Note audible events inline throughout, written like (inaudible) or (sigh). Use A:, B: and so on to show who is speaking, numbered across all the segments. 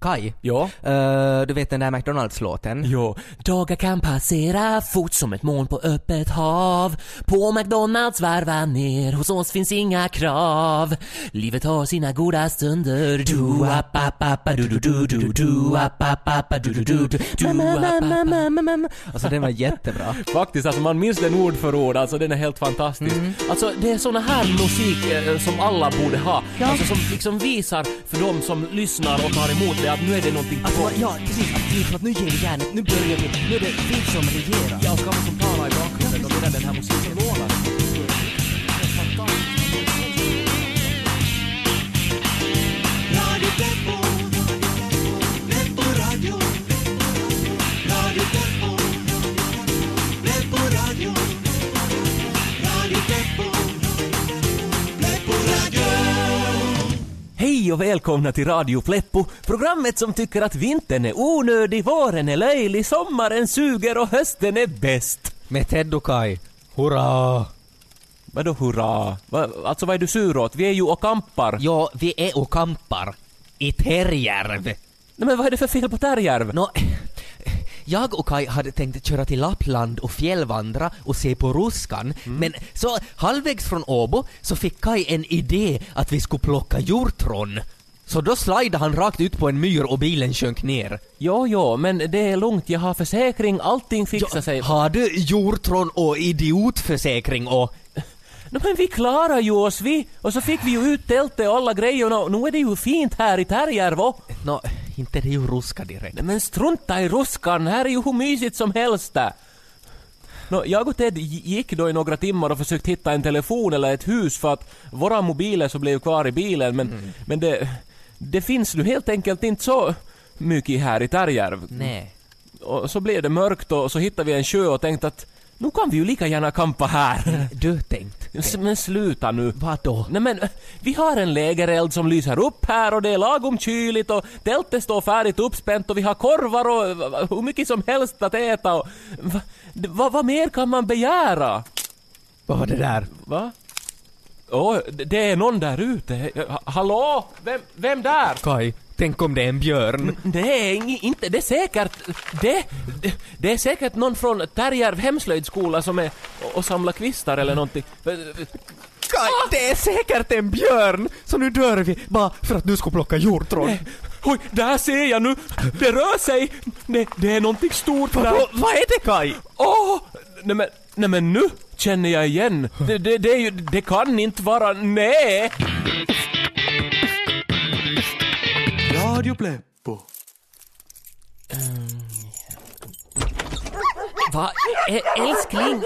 A: Kai,
B: Ja.
A: eh, du vet den där McDonalds-låten?
B: Ja.
C: Dagar kan passera fort som ett moln på öppet hav. På McDonalds varva ner, hos oss finns inga krav. Livet har sina goda stunder. Du app, app, app, du du du du du app, app, app, du du du du du app, app, app.
A: (laughs) Alltså den var jättebra.
B: Faktiskt, alltså man minns den ord för ord, alltså den är helt fantastisk.
C: Mm.
B: Alltså det är såna här musik eh, som alla borde ha. Alltså som liksom visar för de som lyssnar och tar emot det att nu är det någonting
C: Alltså,
D: Att
B: på.
D: man, ja, precis. Att vi, för att nu ger vi järnet. Nu börjar vi. Nu är det vi som regerar.
B: Jag ska vara som talar i bakgrunden och medan den här musiken lånar.
C: Hej och välkomna till Radio Pleppo, programmet som tycker att vintern är onödig, våren är löjlig, sommaren suger och hösten är bäst.
A: Med Ted och Kai. Hurra!
B: Vadå hurra? Va, alltså vad är du sur åt? Vi är ju och kampar.
A: Ja, vi är och kampar. I Terjärv.
B: Nej men vad är det för fel på Tärjärv?
A: Nå, jag och Kai hade tänkt köra till Lappland och fjällvandra och se på Ruskan, men så halvvägs från Åbo så fick Kai en idé att vi skulle plocka hjortron. Så då slidade han rakt ut på en myr och bilen sjönk ner.
B: Jo, jo, men det är lugnt. Jag har försäkring, allting fixar sig.
A: Har du hjortron och idiotförsäkring och...
B: No, men vi klarar ju oss vi! Och så fick vi ju ut tältet och alla grejerna och nu är det ju fint här i Tärjärvo.
A: Nå, inte det är ju Ruska direkt.
B: Nej, men strunta i ruskan, här är ju hur mysigt som helst där. Nå, jag och Ted gi- gick då i några timmar och försökte hitta en telefon eller ett hus för att våra mobiler så blev kvar i bilen men, men det, det finns nu helt enkelt inte så mycket här i Tärjärv.
A: Nej.
B: Och så blev det mörkt och så hittade vi en sjö och tänkte att nu kan vi ju lika gärna kampa här.
A: Du tänkt?
B: S- Men sluta nu.
A: Vadå?
B: Nej men, vi har en lägereld som lyser upp här och det är lagom kyligt och tältet står färdigt uppspänt och vi har korvar och eh, hur mycket som helst att äta och... Va, d- va, vad mer kan man begära?
A: Vad var det där?
B: Va? Åh, d- det är någon där ute. Ha- Hallå? Vem, vem där?
A: Kai, tänk om det är en björn?
B: Det är ing- inte, det är säkert, det, det, det är säkert någon från Tärjärv hemslöjdskola som är och, och samlar kvistar eller någonting.
A: Kaj, det är säkert en björn! Så nu dör vi bara för att du ska plocka hjortron.
B: Oj, där ser jag nu! Det rör sig! Det, det är någonting stort där.
A: Va- Vad är det Kaj?
B: Åh! Nej men, nej men nu känner jag igen. Det, det, det är ju, det kan inte vara, nej!
D: Radio Pleppo.
C: Va? Ä- Älskling,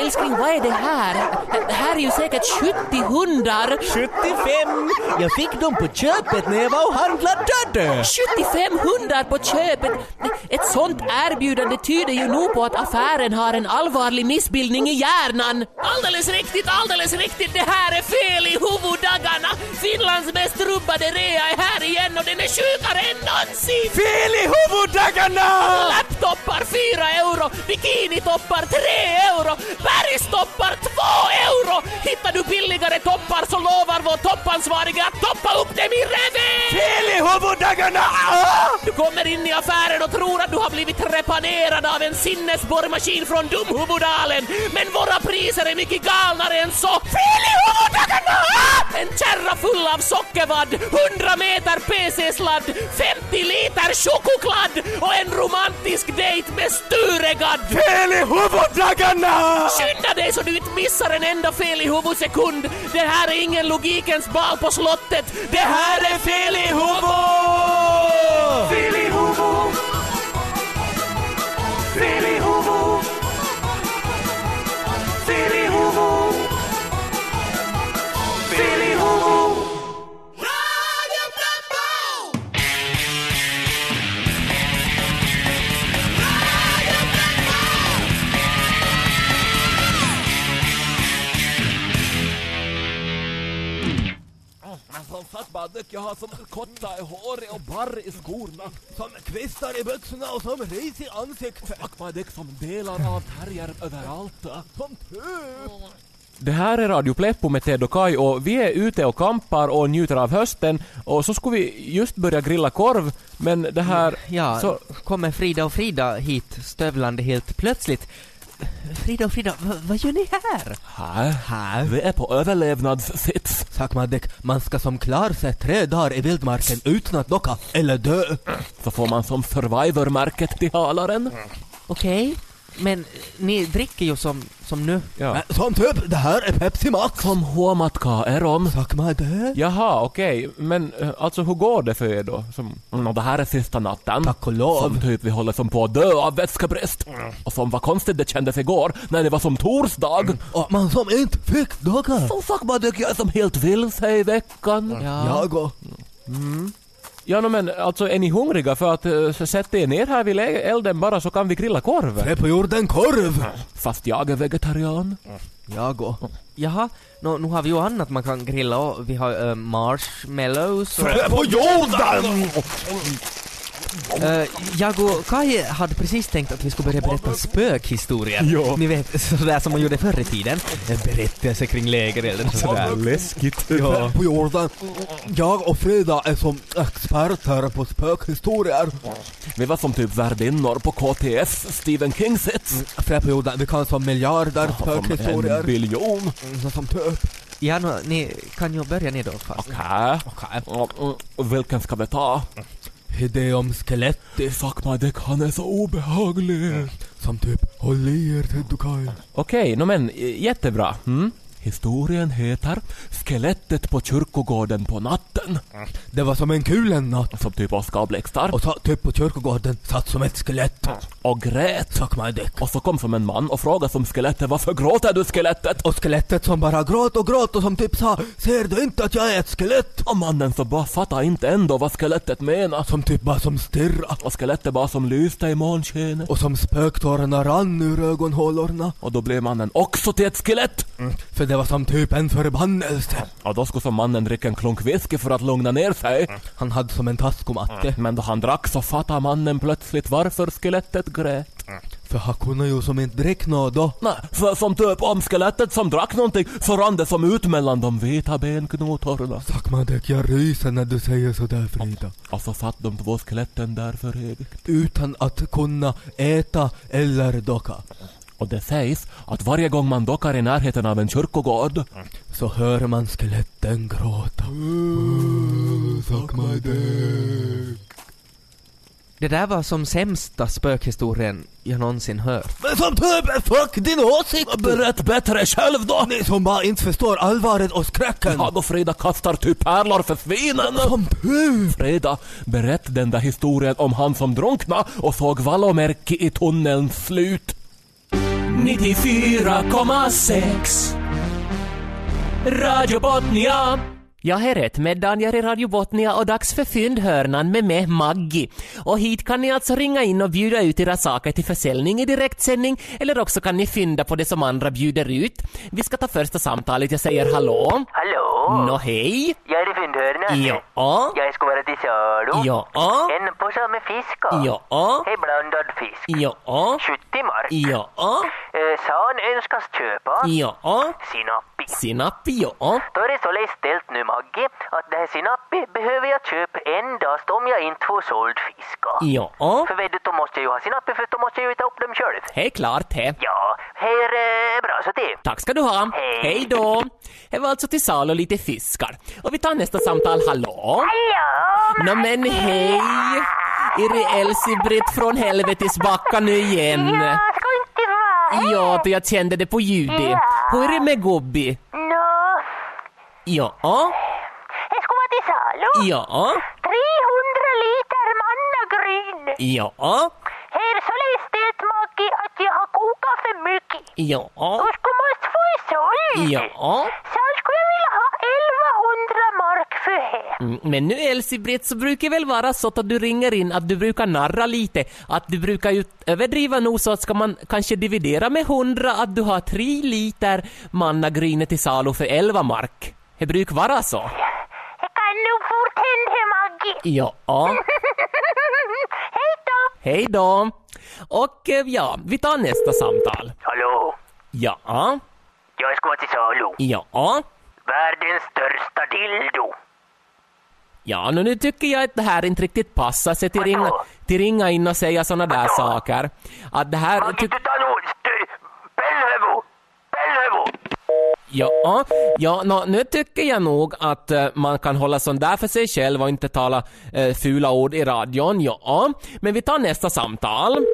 C: älskling vad är det här? Ä- Här är ju säkert 70 hundar.
A: 75! Jag fick dem på köpet när jag var och handlade!
C: 75 hundar på köpet! Ett sånt erbjudande tyder ju nog på att affären har en allvarlig missbildning i hjärnan. Alldeles riktigt, alldeles riktigt! Det här är fel i huvuddagarna! Finlands mest rubbade rea är här igen och den är sjukare än någonsin!
B: Fel i huvuddagarna!
C: Laptoppar 4 euro, bikinitoppar 3 euro, bergstoppar 2 euro! Hittar du billigare toppar så lovar vår toppansvarige att toppa upp dem i revär!
B: Fel i huvuddagarna!
C: Du kommer in i affären och tror att du har blivit repanerad av en sinnesborrmaskin från Dumhuvudalen. Men våra priser är mycket galnare än så. Fel i huvuddagarna! En kärra full av sockervadd, 100 meter PC-sladd, 50 liter chokokladd och en romantisk dejt med Sturegadd.
B: Fel i huvuddagarna!
C: Skynda dig så du inte missar en enda fel i huvudsekund. Det här är ingen logikens bal på slottet. Det här är fel i huvud! Fel i huvud! Fel i huvud! Fel i huvud! Fel i huvud!
B: Som sagt bara dök jag har som kottar i håret och barr i skorna.
A: Som kvistar i byxorna och som ris i ansiktet.
B: Fuck vad dök som delar av Tärjärv överallt.
A: Som tupp!
B: Det här är Radio Pleppo med Ted och Kai och vi är ute och kampar och njuter av hösten och så skulle vi just börja grilla korv men det här...
A: Ja,
B: Så,
A: kommer Frida och Frida hit stövlande helt plötsligt. Frida och Frida, v- vad gör ni här?
B: här,
A: Här?
B: vi är på överlevnadsfits.
A: Sakmadek, man ska som klar sig tre dagar i vildmarken utan att docka eller dö.
B: Så får man som survivor-märket till halaren.
A: Okej, men eh, ni dricker ju som, som nu.
B: Ja.
A: Men Som typ, det här är Pepsi Max.
B: Som huomatkaa eron.
A: Sakmadek.
B: Jaha, okej. Men eh, alltså hur går det för er då? Som, mm, det här är sista natten.
A: Tack och lov.
B: Som typ vi håller som på att dö av vätskebrist.
D: Mm.
B: Och som vad konstigt det kändes igår när det var som torsdag.
D: Mm.
A: Och man som inte fick docka.
B: Så fuck man jag är som helt vilse i veckan.
D: Mm.
A: Ja.
D: går.
B: Ja, no, men alltså är ni hungriga för att uh, sätta er ner här vid lä- elden bara så kan vi grilla korv?
D: Är på jorden korv.
B: Fast jag är vegetarian.
D: Jag går.
A: Jaha, nå, nu har vi ju annat man kan grilla och vi har eh, marshmallows och...
D: Är på jorden!
A: Eh, jag och Kai hade precis tänkt att vi skulle börja berätta spökhistorier.
B: Ja.
A: Ni vet, sådär som man gjorde förr i tiden. En berättelse kring lägerelden och sådär.
B: läskigt.
A: Ja.
D: På jorden. Jag och Frida är som experter på spökhistorier.
B: Vi var som typ värdinnor på KTF, Stephen Kings hits.
D: Frä på jorden. Vi kan som miljarder
B: Som en
D: spökhistorier.
B: biljon.
D: Mm, Som typ.
A: Ja, nå, ni kan ju börja ni då fast.
B: Okej. Mm, mm, Vilken ska vi ta?
D: Idé om skelett.
B: Det är Sakmadek, han är så obehaglig.
D: Som typ. Håll i er Ted och Kai.
B: Okej, nå men eh, jättebra. Mm. Historien heter Skelettet på kyrkogården på natten.
D: Det var som en kul en natt.
B: Som typ Oskar Blixtar.
D: Och satt typ på kyrkogården. Satt som ett skelett.
B: och grät.
D: Suck my dick.
B: Och så kom som en man och frågade som skelettet varför gråter du skelettet?
D: Och skelettet som bara gråt och gråt och som typ sa Ser du inte att jag är ett skelett?
B: Och mannen så bara fattar inte ändå vad skelettet menar.
D: Som typ bara som stirra
B: Och skelettet bara som lyste i månskenet.
D: Och som spöktårarna rann ur ögonhålorna
B: Och då blev mannen också till ett skelett.
D: För det var som typ en förbannelse
B: Och då skulle som mannen dricka en klunk whisky för att lugna ner sig.
D: Han hade som en taskomatte
B: Men då han drack så fattade mannen plötsligt varför skelettet grät.
D: För han kunde ju som inte dricka något då
B: Nej, för som typ om skelettet som drack någonting så rann det som ut mellan de vita benknotorna.
D: Tack man däck, jag ryser när du säger sådär Frida
B: Och så satt de två skeletten där för evigt.
D: Utan att kunna äta eller docka
B: Och det sägs att varje gång man dockar i närheten av en kyrkogård
D: Så hör man skeletten gråta Suck my dick
A: Det där var som sämsta spökhistorien jag någonsin hört.
D: Men som typ, fuck din åsikt!
B: Berätt bättre själv då!
D: Ni som bara inte förstår allvaret och skräcken!
B: Jag och Frida kastar typ pärlor för svinen!
D: Som du!
B: Frida, berätt den där historien om han som drunkna och såg vallomärke i tunnelns slut. 94,6 Radio Botnia
E: Jag är rätt med Daniel i Radio Botnia och dags för Fyndhörnan med mig Maggi. Och hit kan ni alltså ringa in och bjuda ut era saker till försäljning i direktsändning eller också kan ni fynda på det som andra bjuder ut. Vi ska ta första samtalet, jag säger hallå.
F: Hallå?
E: Nå hej.
F: Jag är i Fyndhörnan.
E: Ja.
F: Jag ska vara till salu.
E: Ja.
F: En påse med fisk.
E: Ja.
F: Hej, blandad fisk.
E: Ja.
F: 70 mark.
E: Ja.
F: Eh, San önskas köpa.
E: Ja.
F: Sinappi.
E: Sinap, ja.
F: Då är det således ställt nu, Maggie, att det här sinappi behöver jag köpa endast om jag inte får såld fisk.
E: Ja.
F: För vet du, då måste jag ju ha sinappi för då måste jag ju ta upp dem själv.
E: Hej klart, hej.
F: Ja, här är bra så det.
E: Tack ska du ha.
F: Hej.
E: Hej då. Det var alltså till sal och lite fiskar. Och vi tar nästa samtal, hallå.
F: Hallå!
E: Nå men hej! Är det Elsie-Britt från Helvetisbacka nu igen?
F: Jag ska inte vara
E: Ja, då jag kände det på ljudet. Hur är det med Gobbi?
F: Nå,
E: Ja,
F: jag ska vara till salu.
E: ja,
F: 300 liter mannagryn.
E: ja,
F: Här så läste ett maki att jag har kokat för mycket.
E: ja,
F: Du skulle måste få i såld.
E: ja.
F: Sen skulle jag vilja ha 1100 mark för här.
E: Mm, Men nu Elsie-Britt så brukar det väl vara så att du ringer in att du brukar narra lite. Att du brukar ju överdriva nog så att ska man kanske dividera med 100 att du har 3 liter mannagryne till salu för 11 mark. Det brukar vara så.
F: Det kan nog fort hända, Maggi.
E: Ja.
F: (laughs) Hej då!
E: Hej då! Och eh, ja, vi tar nästa samtal.
F: Hallå?
E: Ja,
F: Jag ska vara till
G: salu.
B: Ja.
G: Världens största dildo.
B: Ja, nu, nu tycker jag att det här inte riktigt passar sig till
G: Vadå?
B: ringa, till ringa in och säga såna där
G: Vadå?
B: saker. Att det här...
G: Maggi,
B: tyck-
G: du tar nog... du- Pellevo! Pellevo!
B: Ja, ja nå, nu tycker jag nog att eh, man kan hålla sånt där för sig själv och inte tala eh, fula ord i radion, ja. Men vi tar nästa samtal.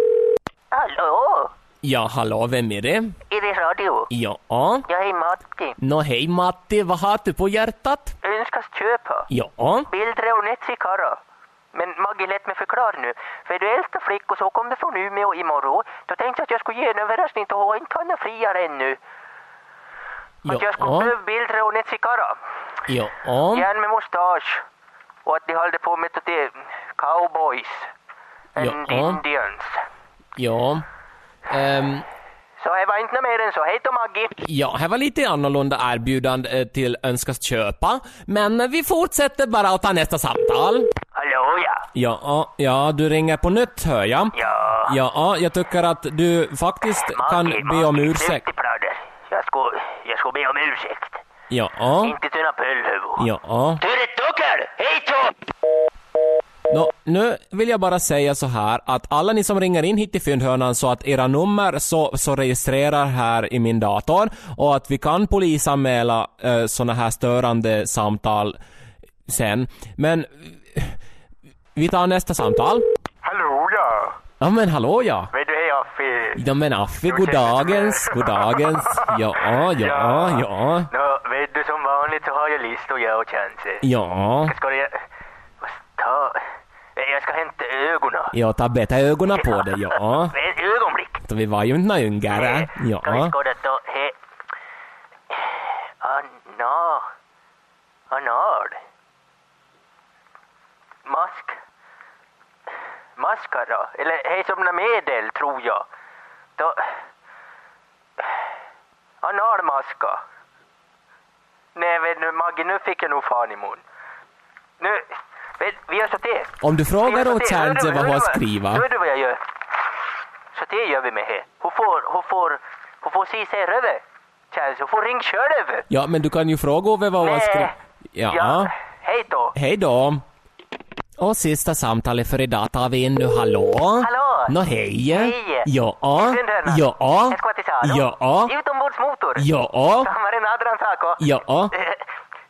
G: Hallå?
B: Ja, hallå, vem är det?
G: Är det radio?
B: Ja.
G: Jag är Matti.
B: Nå hej Matti, vad har du på hjärtat?
G: Önskas köpa.
B: Ja.
G: Bildre och Netsikara. Men Maggie, lät mig förklara nu. För du äldsta flicka så kom du från Umeå imorgon. Då tänkte jag att jag skulle ge en överraskning till hon inte kan friar ännu. Att jag skulle
B: Ja. Mm.
G: behöva Bildre och Netsikara.
B: Ja.
G: Järn med mustasch. Och att de höll på med det där cowboys. And
B: Ja.
G: indians.
B: Ja. Ehm,
G: Så det var inte något mer än så. Hej då Maggie!
B: ja, här var lite annorlunda erbjudande eh, till önskas köpa. Men eh, vi fortsätter bara att ta nästa samtal.
G: Hallå ja!
B: Ja, ja, du ringer på nytt hör jag.
G: Ja.
B: Ja, jag tycker att du faktiskt kan
G: Maggie,
B: be om
G: Maggie,
B: ursäkt.
G: sluta pratar. Jag ska, jag ska be om ursäkt.
B: Ja,
G: Inte tunna pöllhuvud.
B: ja.
G: Ture Tucker! Hej då!
B: Nå, nu vill jag bara säga så här att alla ni som ringer in hit till Fyndhörnan så att era nummer så, så registrerar här i min dator och att vi kan polisanmäla eh, såna här störande samtal sen. Men eh, vi tar nästa samtal.
F: Hallå ja!
B: Ja men hallå ja.
F: Vet du, hej Affe.
B: Ja men Affe, goddagens, goddagens. Ja, ja, ja, ja.
F: Nå, vet du, som vanligt så har jag listor jag och chanser.
B: Ja,
F: Ska du... Vad ta... Eh, Jag ska hämta ögonen.
B: ja ta bättre ögonen på dig, ja.
F: Ett ögonblick.
B: Vi var ju inte några yngre.
F: Ska vi
B: Ja.
F: skåda då? He... Ah, Anna... Anal. Mask... Maskara. Eller hej som något medel, tror jag. Då... Ah, Analmaska. Nej, vet du, Maggie, nu fick jag nog fan i mun. Nu... Vet, vi gör så det.
B: Om du
F: Jag
B: frågar åt
F: sorterar. Hör
B: Chance
F: du-
B: vad
F: hör
B: hon
F: du-
B: skriver.
F: Hör du vad jag gör? Så det gör vi med här. Hon får, hon får, hon får se sig över. Chance, hon får ringa själv över.
B: Ja, men du kan ju fråga Ove vad hon
F: Nej.
B: skriver. Ja.
F: Hej då.
B: Hej då. Och sista samtalet för idag tar vi in nu. Hallå?
F: Hallå.
B: Nå hej.
F: Hej.
B: Ja.
F: Fyndhörnan.
B: Ja.
F: Jag ska till Salo.
B: Ja.
F: Utombordsmotor. (laughs)
B: Ja.
F: Hammaren Adran Sako.
B: Ja.
F: Eh,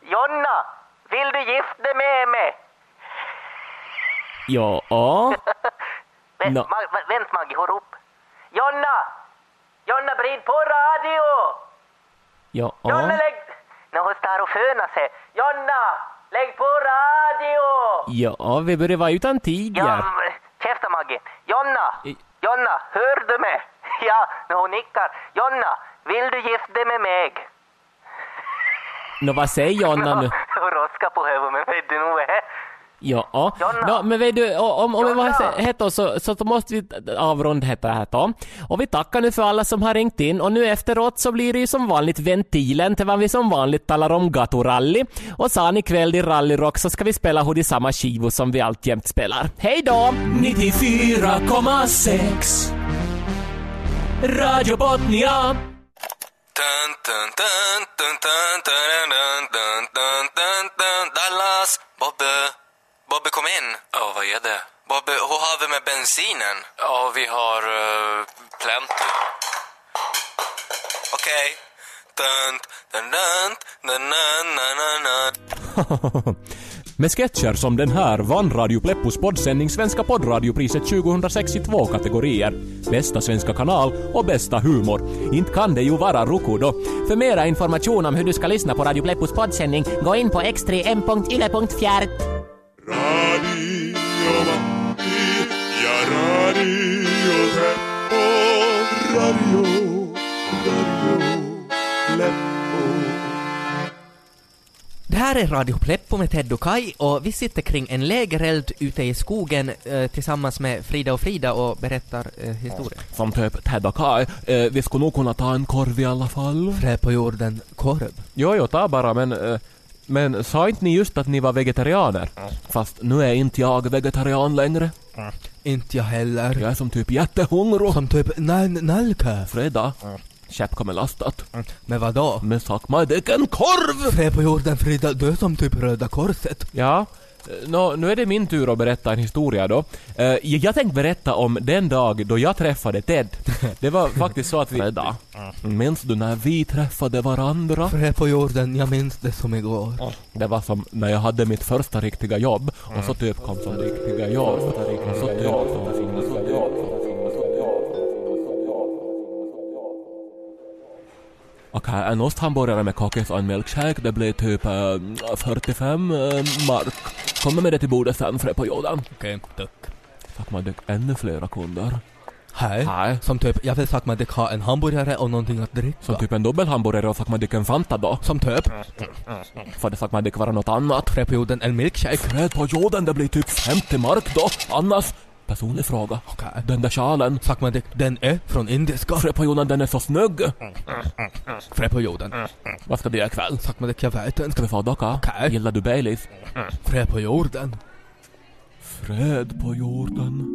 F: (laughs) Jonna, vill du gifta dig med mig?
B: Ja.
F: Vä-
B: Nå.
F: Ma- vä- vänt Maggie, hör upp. Jonna! Jonna, vrid på radio!
B: Ja.
F: Jonna, lägg... När hon står och fönar sig. Jonna, lägg på radio!
B: Ja, vi börjar vara utan tid.
F: Ja,
B: Ja.
F: men, käften Maggie. Jonna!
B: I-
F: Jonna, hör du mig? (laughs) Ja, när hon nickar. Jonna, vill du gifta dig med mig?
B: Nå, vad säger Jonna nu?
F: (laughs) Hon roskar på huvudet, men vet du nog vad det är?
B: Ja.
F: Jonna.
B: Nå, men vet du, o- om, om vi
F: Jonna.
B: var heter så, så då måste vi avrunda detta här då. Och vi tackar nu för alla som har ringt in och nu efteråt så blir det ju som vanligt ventilen till vad vi som vanligt talar om gatorally. Och sen ikväll i rallyrock så ska vi spela hur de samma skivor som vi alltjämt spelar. Hej då! 94,6 Radio Botnia
H: Dallas, Bobbe. Bobbe kom in. Ja, vad är det? Bobbe, hur har vi med bensinen? Ja, vi har uh, plenty. Okej. Dun, dun, dun, dun, dun, dun, dun, dun.
D: Med sketcher som den här vann Radio Pleppos poddsändning Svenska poddradiopriset 2006 i två kategorier. Bästa svenska kanal och bästa humor. Inte kan det ju vara Roku då.
B: För mera information om hur du ska lyssna på Radio Pleppos poddsändning, gå in på x3m.yle.fjärt.
I: Det här är Radio Pleppo med Ted och Kai och vi sitter kring en lägereld ute i skogen eh, tillsammans med Frida och Frida och berättar eh, historier.
D: Som typ Ted och Kai. Eh, vi skulle nog kunna ta en korv i alla fall.
I: Trä på jorden, korv.
D: Jo, jo, ta bara men... eh, Men sa inte ni just att ni var vegetarianer? Fast nu är inte jag vegetarian längre.
I: Inte jag heller.
D: Jag är som typ jättehungrig.
I: Som typ, nej, nalka.
D: Fredag.
B: Käpp kommer lastat.
D: Men vadå?
B: Men sack mig, det är en korv!
D: Fred på jorden, Frida, du är som typ Röda Korset.
B: Ja. Nå, nu är det min tur att berätta en historia då. Eh, jag tänkte berätta om den dag då jag träffade Ted. Det var faktiskt så att vi... Freda, minns du när vi träffade varandra?
D: Fred på jorden, jag minns det som igår.
B: Det var som när jag hade mitt första riktiga jobb och så typ kom som riktiga jobb. Och så typ kom som riktiga jobb. Okej, en osthamburgare med kakis och en milkshake, det blir typ eh, 45 eh, mark. Kommer med det till bordet sen, Fred på jorden.
D: Okej, tack.
B: Fuck man, det är ännu flera kunder.
D: Hej.
B: Nej.
D: Som typ, jag vill sagt man det ha en hamburgare och någonting att dricka.
B: Som typ en dubbelhamburgare och fuck man, det är en Fanta då.
D: Som typ,
B: För det fuck man, det kan vara något annat.
D: Fred på jorden, en milkshake.
B: Fred på jorden, det blir typ 50 mark då. Annars, personlig fråga.
D: Okej.
B: Den där sjalen.
D: Sagt man det, den är från indiska.
B: Fred på jorden, den är så snygg.
D: Mm. Fred på jorden.
B: Vad ska du göra ikväll?
D: Sagt man det, jag vet inte.
B: Ska vi få docka?
D: Okej.
B: Gillar du Baileys?
D: Fred på jorden.
B: Fred på jorden.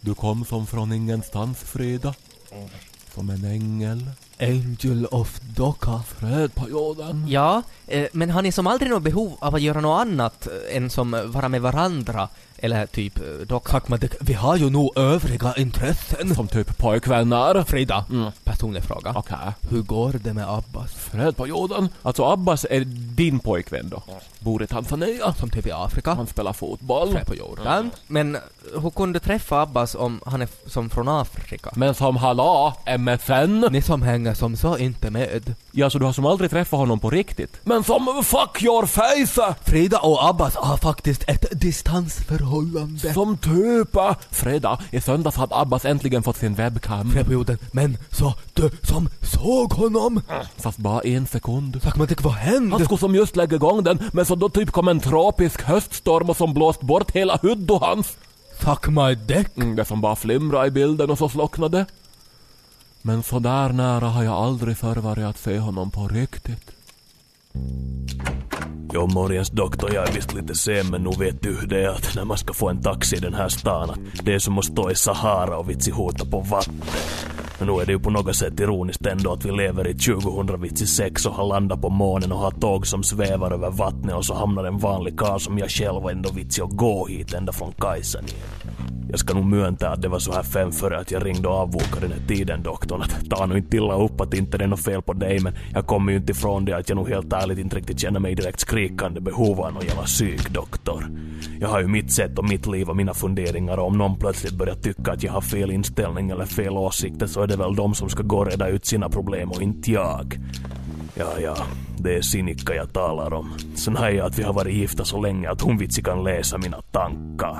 B: Du kom som från ingenstans, Freda.
D: Mm.
B: Som en ängel.
D: Angel of Doka.
B: Fred på jorden.
A: Ja, eh, men har ni som aldrig något behov av att göra något annat eh, än som eh, vara med varandra? Eller typ eh, docka?
D: Sagt man det, vi har ju nog övriga intressen.
B: Som typ pojkvänner.
D: Frida,
B: Mm.
D: personlig fråga.
B: Okej.
D: Hur går det med Abbas?
B: Fred på jorden. Alltså Abbas är din pojkvän då.
D: Mm.
B: Bor i Tanzania.
D: Som typ i Afrika.
B: Han spelar fotboll.
D: Fred på jorden.
A: Mm. Men eh, hur kunde du träffa Abbas om han är f- som från Afrika?
B: Men som hallå, MFN.
D: Mm. Ni som hänger som så inte med.
B: Ja, så du har som aldrig träffat honom på riktigt? Men som fuck your face!
D: Frida och Abbas har faktiskt ett distansförhållande.
B: Som typ... äh, Fredag, i söndags hade Abbas äntligen fått sin webcam.
D: Fred på jorden. Men så du som såg honom?
B: Fast bara en sekund.
D: Sagt man det, vad
B: Han
D: hände?
B: skulle som just lägga igång den, men så då typ kom en tropisk höststorm och som blåst bort hela hud och hans.
D: Fuck my dick.
B: Mm, det som bara flimra i bilden och så slocknade. Men så där nära har jag aldrig förr varit att se honom på riktigt.
J: Jo, morjens doktor, jag är visst lite sen men nu vet du hur det är att när man ska få en taxi i den här stan att det är som att stå i Sahara och vitsi hota på vatten. Men nu är det ju på något sätt ironiskt ändå att vi lever i 2006 och har landat på månen och har tåg som svävar över vattnet och så hamnar en vanlig karl som jag själv ändå vitsi och gå hit ända från Kajsanie. Jag ska nog myönta att det var så här fem före att jag ringde och avbokade den här tiden doktorn. Att ta nu inte illa upp att inte det är något fel på dig men jag kommer ju inte ifrån det att jag nog helt ärligt inte riktigt känner mig direkt skrikande behov av någon jävla psykdoktor. Jag har ju mitt sätt och mitt liv och mina funderingar och om någon plötsligt börjar tycka att jag har fel inställning eller fel åsikter så är det väl de som ska gå och reda ut sina problem och inte jag. Ja, ja. Det är Sinikka jag talar om. Sen har jag att vi har varit gifta så länge att hon vitsi kan läsa mina tankar.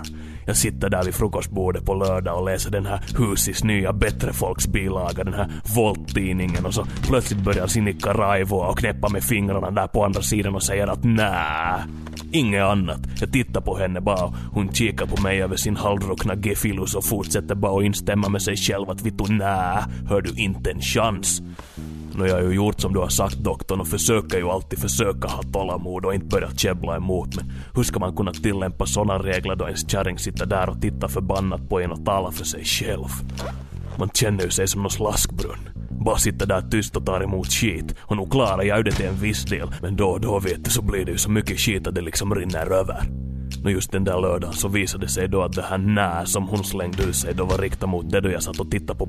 J: Jag sitter där vid frukostbordet på lördag och läser den här Husis nya bättre folks bilaga, den här Volt-tidningen och så plötsligt börjar Sinikka raivoa och knäppa med fingrarna där på andra sidan och säger att nä, inget annat. Jag tittar på henne bara och hon kikar på mig över sin halvruckna gefilus och fortsätter bara att instämma med sig själv att vittu nä, hör du inte en chans. Nå jag har ju gjort som du har sagt doktorn och försöker ju alltid försöka ha tålamod och inte börja käbbla emot men hur ska man kunna tillämpa såna regler då ens kärring sitter där och tittar förbannat på en och talar för sig själv? Man känner ju sig som någon slaskbrunn. Bara sitter där tyst och tar emot skit. Och nog klarar jag ju det till en viss del men då och då vet du så blir det ju så mycket skit att det liksom rinner över. Nå just den där lördagen så visade det sig då att det här nä som hon slängde ur sig då var riktat mot det då jag satt och tittade på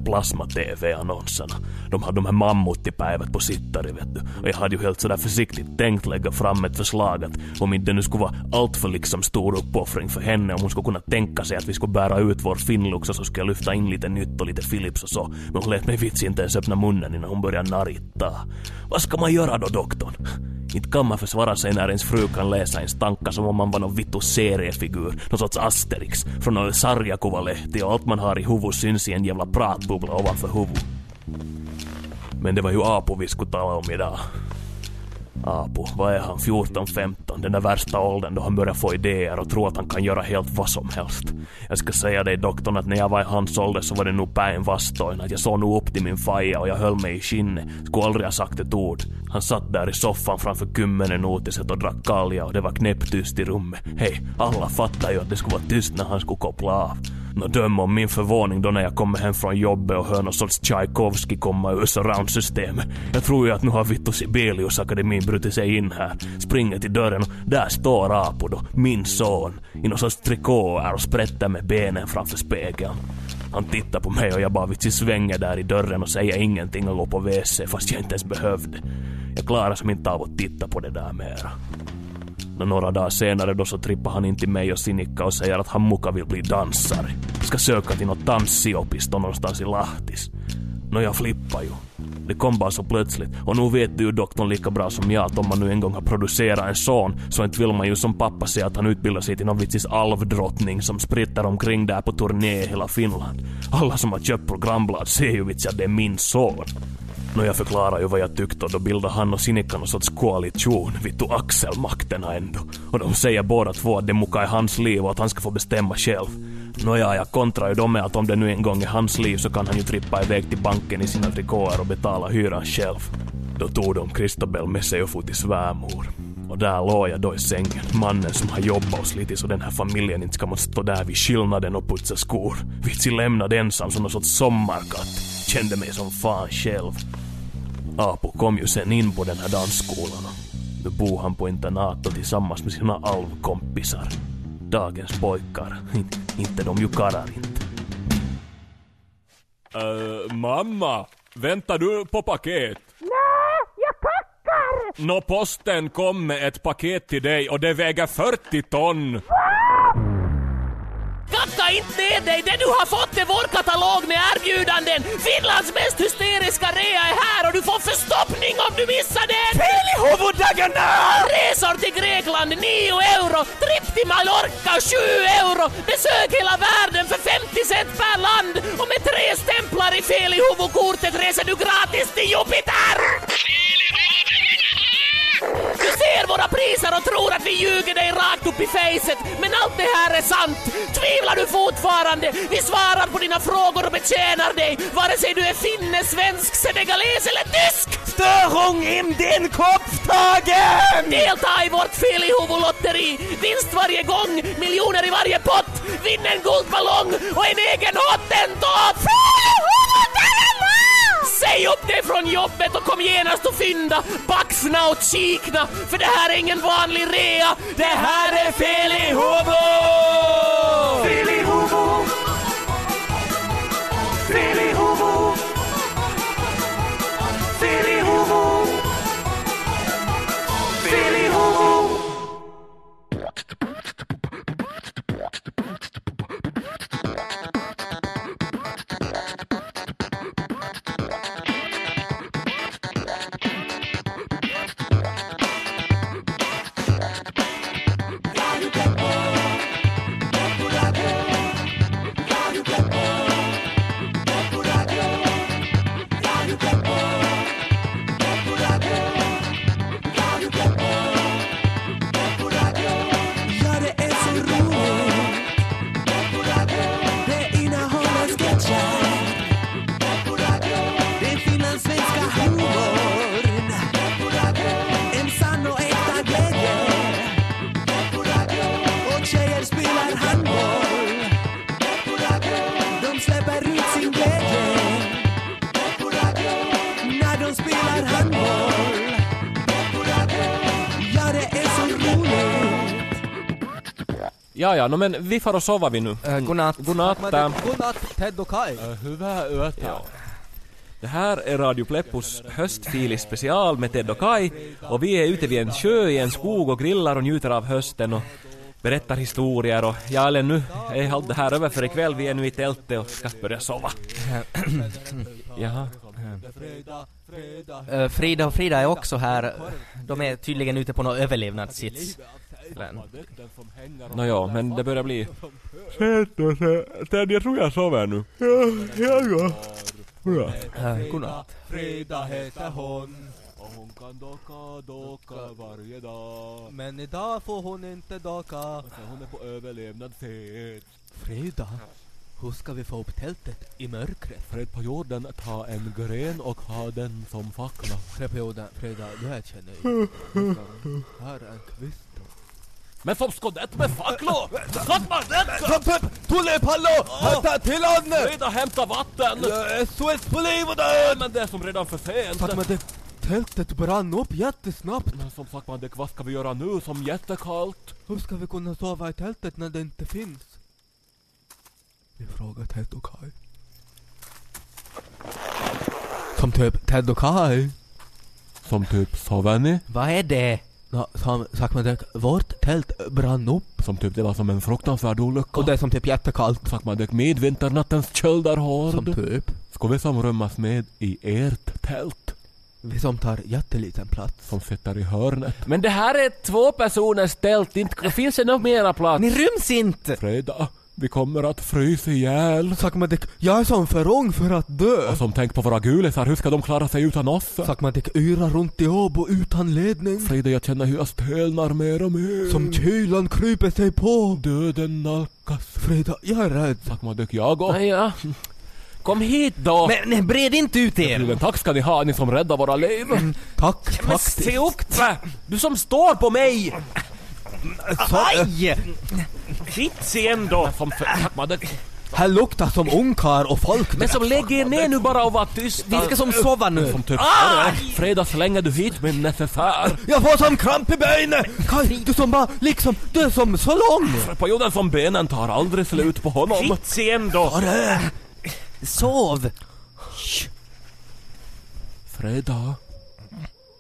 J: plasma-tv-annonserna. De hade de här mammuttipäivät på sittare vet du. Och jag hade ju helt sådär försiktigt tänkt lägga fram ett förslag att om inte nu skulle vara alltför liksom stor uppoffring för henne om hon skulle kunna tänka sig att vi skulle bära ut vår Finnlux och så skulle jag lyfta in lite nytt och lite Philips och så. Men hon lät mig vitsi inte ens öppna munnen innan hon började narita. Vad ska man göra då doktorn? Inte kan man försvara sig när ens fru kan läsa ens tankar som om man var någon vittu seriefigur, någon sorts Asterix, från någon sarjakuvalehti och allt man har i huvudet syns i en jävla pratbubbla ovanför huvudet. Men det var ju Apu vi skulle tala om idag. Apu, vad är han, 14-15, den där värsta åldern då han börjar få idéer och tror att han kan göra helt vad som helst. Jag ska säga dig doktorn att när jag var i hans ålder så var det nog päin vastoin, att jag såg nog upp till min faja och jag höll mig i skinnet, skulle aldrig ha sagt ett ord. Han satt där i soffan framför kymmenen otiset och drack kalja och det var knäpptyst i rummet. Hej, alla fattar ju att det skulle vara tyst när han skulle koppla av. Nå döm om min förvåning då när jag kommer hem från jobbet och hör någon sorts Tchaikovsky komma ur surroundsystemet. Jag tror ju att nu har Vittu Sibelius akademin brutit sig in här. Springer till dörren och där står Apo då, min son, i någon sorts trikåer och sprättar med benen framför spegeln. Han tittar på mig och jag bara vitsi svänger där i dörren och säger ingenting och går på WC fast jag inte ens behövde. Jag klarar som inte av att titta på det där mera. Men några dagar senare då så trippar han in till mig och Sinikka och säger att han muka vill bli dansare. Ska söka till något dansiopisto någonstans i Lahtis. Nå jag flippar ju. Det kom bara så plötsligt. Och nu vet du ju doktorn lika bra som jag att om man nu en gång har producerat en son så inte vill man ju som pappa se att han utbildar sig till någon vitsis alvdrottning som spritter omkring där på turné i hela Finland. Alla som har köpt programblad ser ju vitsi att det är min son. Nå jag förklarar ju vad jag tyckte och då bildar han och Sinikka någon sorts koalition, vittu axelmakterna ändå. Och de säger båda två att det muka är hans liv och att han ska få bestämma själv. Nåja, jag kontrar ju dem med att om det nu en gång är hans liv så kan han ju trippa iväg till banken i sina trikåer och betala hyran själv. Då tog de Christobel med sig och for till svärmor. Och där låg jag då i sängen, mannen som har jobbat och slitit så den här familjen inte ska måste stå där vid skillnaden och putsa skor. Vitsi lämnad ensam som någon sorts sommarkatt. Kände mig som fan själv. Apo kom ju sen in på den här dansskolan. och Nu bor han på internat och tillsammans med sina alvkompisar. Dagens (laughs) pojkar, inte de ju karlar inte.
B: Äh, mamma, väntar du på paket?
K: Nej, jag packar!
B: Nå, posten kom med ett paket till dig och det väger 40 ton.
C: Kacka inte ner dig! Det du har fått är vår katalog med erbjudanden! Finlands mest hysteriska rea är här och du får förstoppning om du missar den! Fel i huvuddagarna! Resor till Grekland 9 euro, tripp till Mallorca 7 euro, besök hela världen för 50 cent per land och med tre stämplar i fel i huvudkortet reser du gratis till Jupiter! Du ser våra priser och tror att vi ljuger dig rakt upp i facet, men allt det här är sant. Tvivlar du fortfarande? Vi svarar på dina frågor och betjänar dig, vare sig du är finne, svensk, senegales eller tysk! Störung im den Kopftagen! Delta i vårt filihuvudlotteri! Vinst varje gång, miljoner i varje pott! Vinn en guldballong och en egen hottentott! Filihuvudlotteri! Säg upp dig från jobbet och kom genast och fynda, baxna och kikna, för det här är ingen vanlig rea. Det här är fel i huvudet!
L: Ja, det är så roligt. Det innehåller sketcher. Det är finlandssvenska humorn. En sann och äkta glädje. Och tjejer spelar handboll. De släpper ut sin glädje. När de spelar handboll. Ja, det är så roligt.
B: Ja, ja, no, men vi får och sover vi nu.
A: Äh, godnatt.
B: Godnatt. äh.
D: Godnatt Ted och Kai.
B: Hyvää yötä. Det här är Radio Pleppos höstfilis special med Ted och Kai och vi är ute vid en sjö i en skog och grillar och njuter av hösten och berättar historier och ja, eller nu är allt det här över för ikväll. Vi är nu i tältet och ska börja (clears throat) sova. Jaha.
A: Äh, Frida och Frida är också här. De är tydligen ute på någon överlevnadssits.
B: Nå ja, men det börjar bli... Ted, jag tror jag sover nu.
A: Äh, godnatt.
D: Frida heter hon och hon kan
B: kan docka, docka varje dag.
D: Men idag får hon inte docka.
B: Alltså, hon är på överlevnad fet.
D: Frida, hur ska vi få upp tältet i mörkret?
B: Fred på jorden, ta en gren och ha den som fackla.
D: Fred på jorden, Frida, du erkänner ju.
A: (laughs)
D: Här är en kvist.
B: Men som skådett med facklor! Skottmannen!
D: Topp, topp! Tullepallo! Hämta till honom!
B: Frida hämta vatten!
D: SOS på liv och död!
B: Men det är som redan för sent.
D: Tack men det tältet brann upp jättesnabbt.
B: Men som sagt man, det- vad ska vi göra nu som jättekallt?
D: Hur ska vi kunna sova i tältet när det inte finns? Vi frågar Ted och Kai. Som typ Ted och Kai.
B: Som typ sover ni?
A: Vad är det?
D: Nå, som sagt man det, vårt tält brann upp.
B: Som typ det var som en fruktansvärd olycka.
D: Och det är som typ jättekallt.
B: Sagt man, det midvinternattens köld är
D: Som
B: hård.
D: typ.
B: Ska vi som rymmas med i ert tält?
D: Vi som tar jätteliten plats.
B: Som sitter i hörnet.
E: Men det här är två personers tält, inte finns det någon mera plats?
A: Ni ryms inte!
B: Freda, vi kommer att frysa ihjäl.
D: Sagt man det, jag är som för ung för att dö.
B: Och som tänk på våra gulisar, hur ska de klara sig utan oss?
D: Sagt man det, yra runt i Åbo utan ledning.
B: Frida, jag känner hur jag stelnar mer och mer.
D: Som kylan kryper sig på.
B: döden nalkas.
D: Frida, jag är rädd.
B: Tack Maduk, jag och...
E: Ja, ja. Kom hit då!
A: Men nej, bred inte ut er!
B: Men tack ska ni ha, ni som räddar våra liv.
D: Tack,
E: Mm, Men
D: tack.
E: se upp! va? Du som står på mig!
A: Aj!
E: Vits igen då!
B: Som för... Tack Maduk.
D: Här luktar som ungkarl och folk.
E: Men som lägger er ner nu bara och var tyst.
A: Vilka som sover nu?
B: Som typ...
E: Freda slänger du hit min necessär.
D: Jag får som kramp i benen! Kaj, du som bara liksom, du är som så lång!
B: Perioden som benen tar aldrig slut på honom.
E: Vits igen då!
A: Sov!
B: Freda.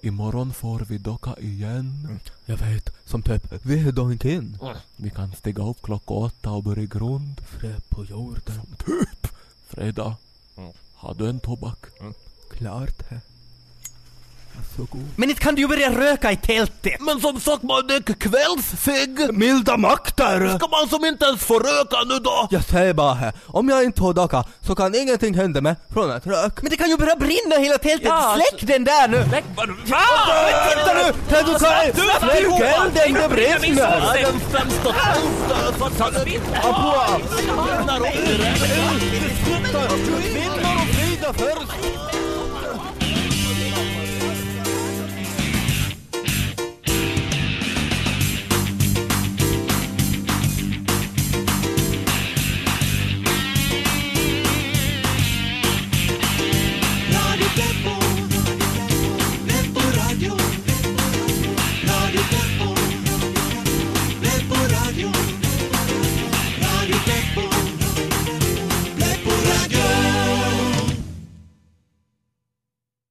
B: Imorgon får vi docka igen.
D: Jag vet, som typ, vi är donkin.
B: Vi kan stiga upp klockan åtta och börja grund.
D: Frö på jorden.
B: Freda. Har du en tobak?
D: Klart det. Så god.
A: Men inte kan du ju börja röka i tältet!
B: Men som sagt Maduk, kvällsfig!
D: Milda makter!
B: Ska man som inte ens få röka nu då?
D: Jag säger bara här, om jag inte har docka så kan ingenting hända mig från att rök.
A: Men det kan ju börja brinna hela tältet!
E: Ja,
A: Släck den där nu!
D: Men titta nu! Ted och Kaj! Släck elden, det brinner! Apua! Kvinnor och Frida först!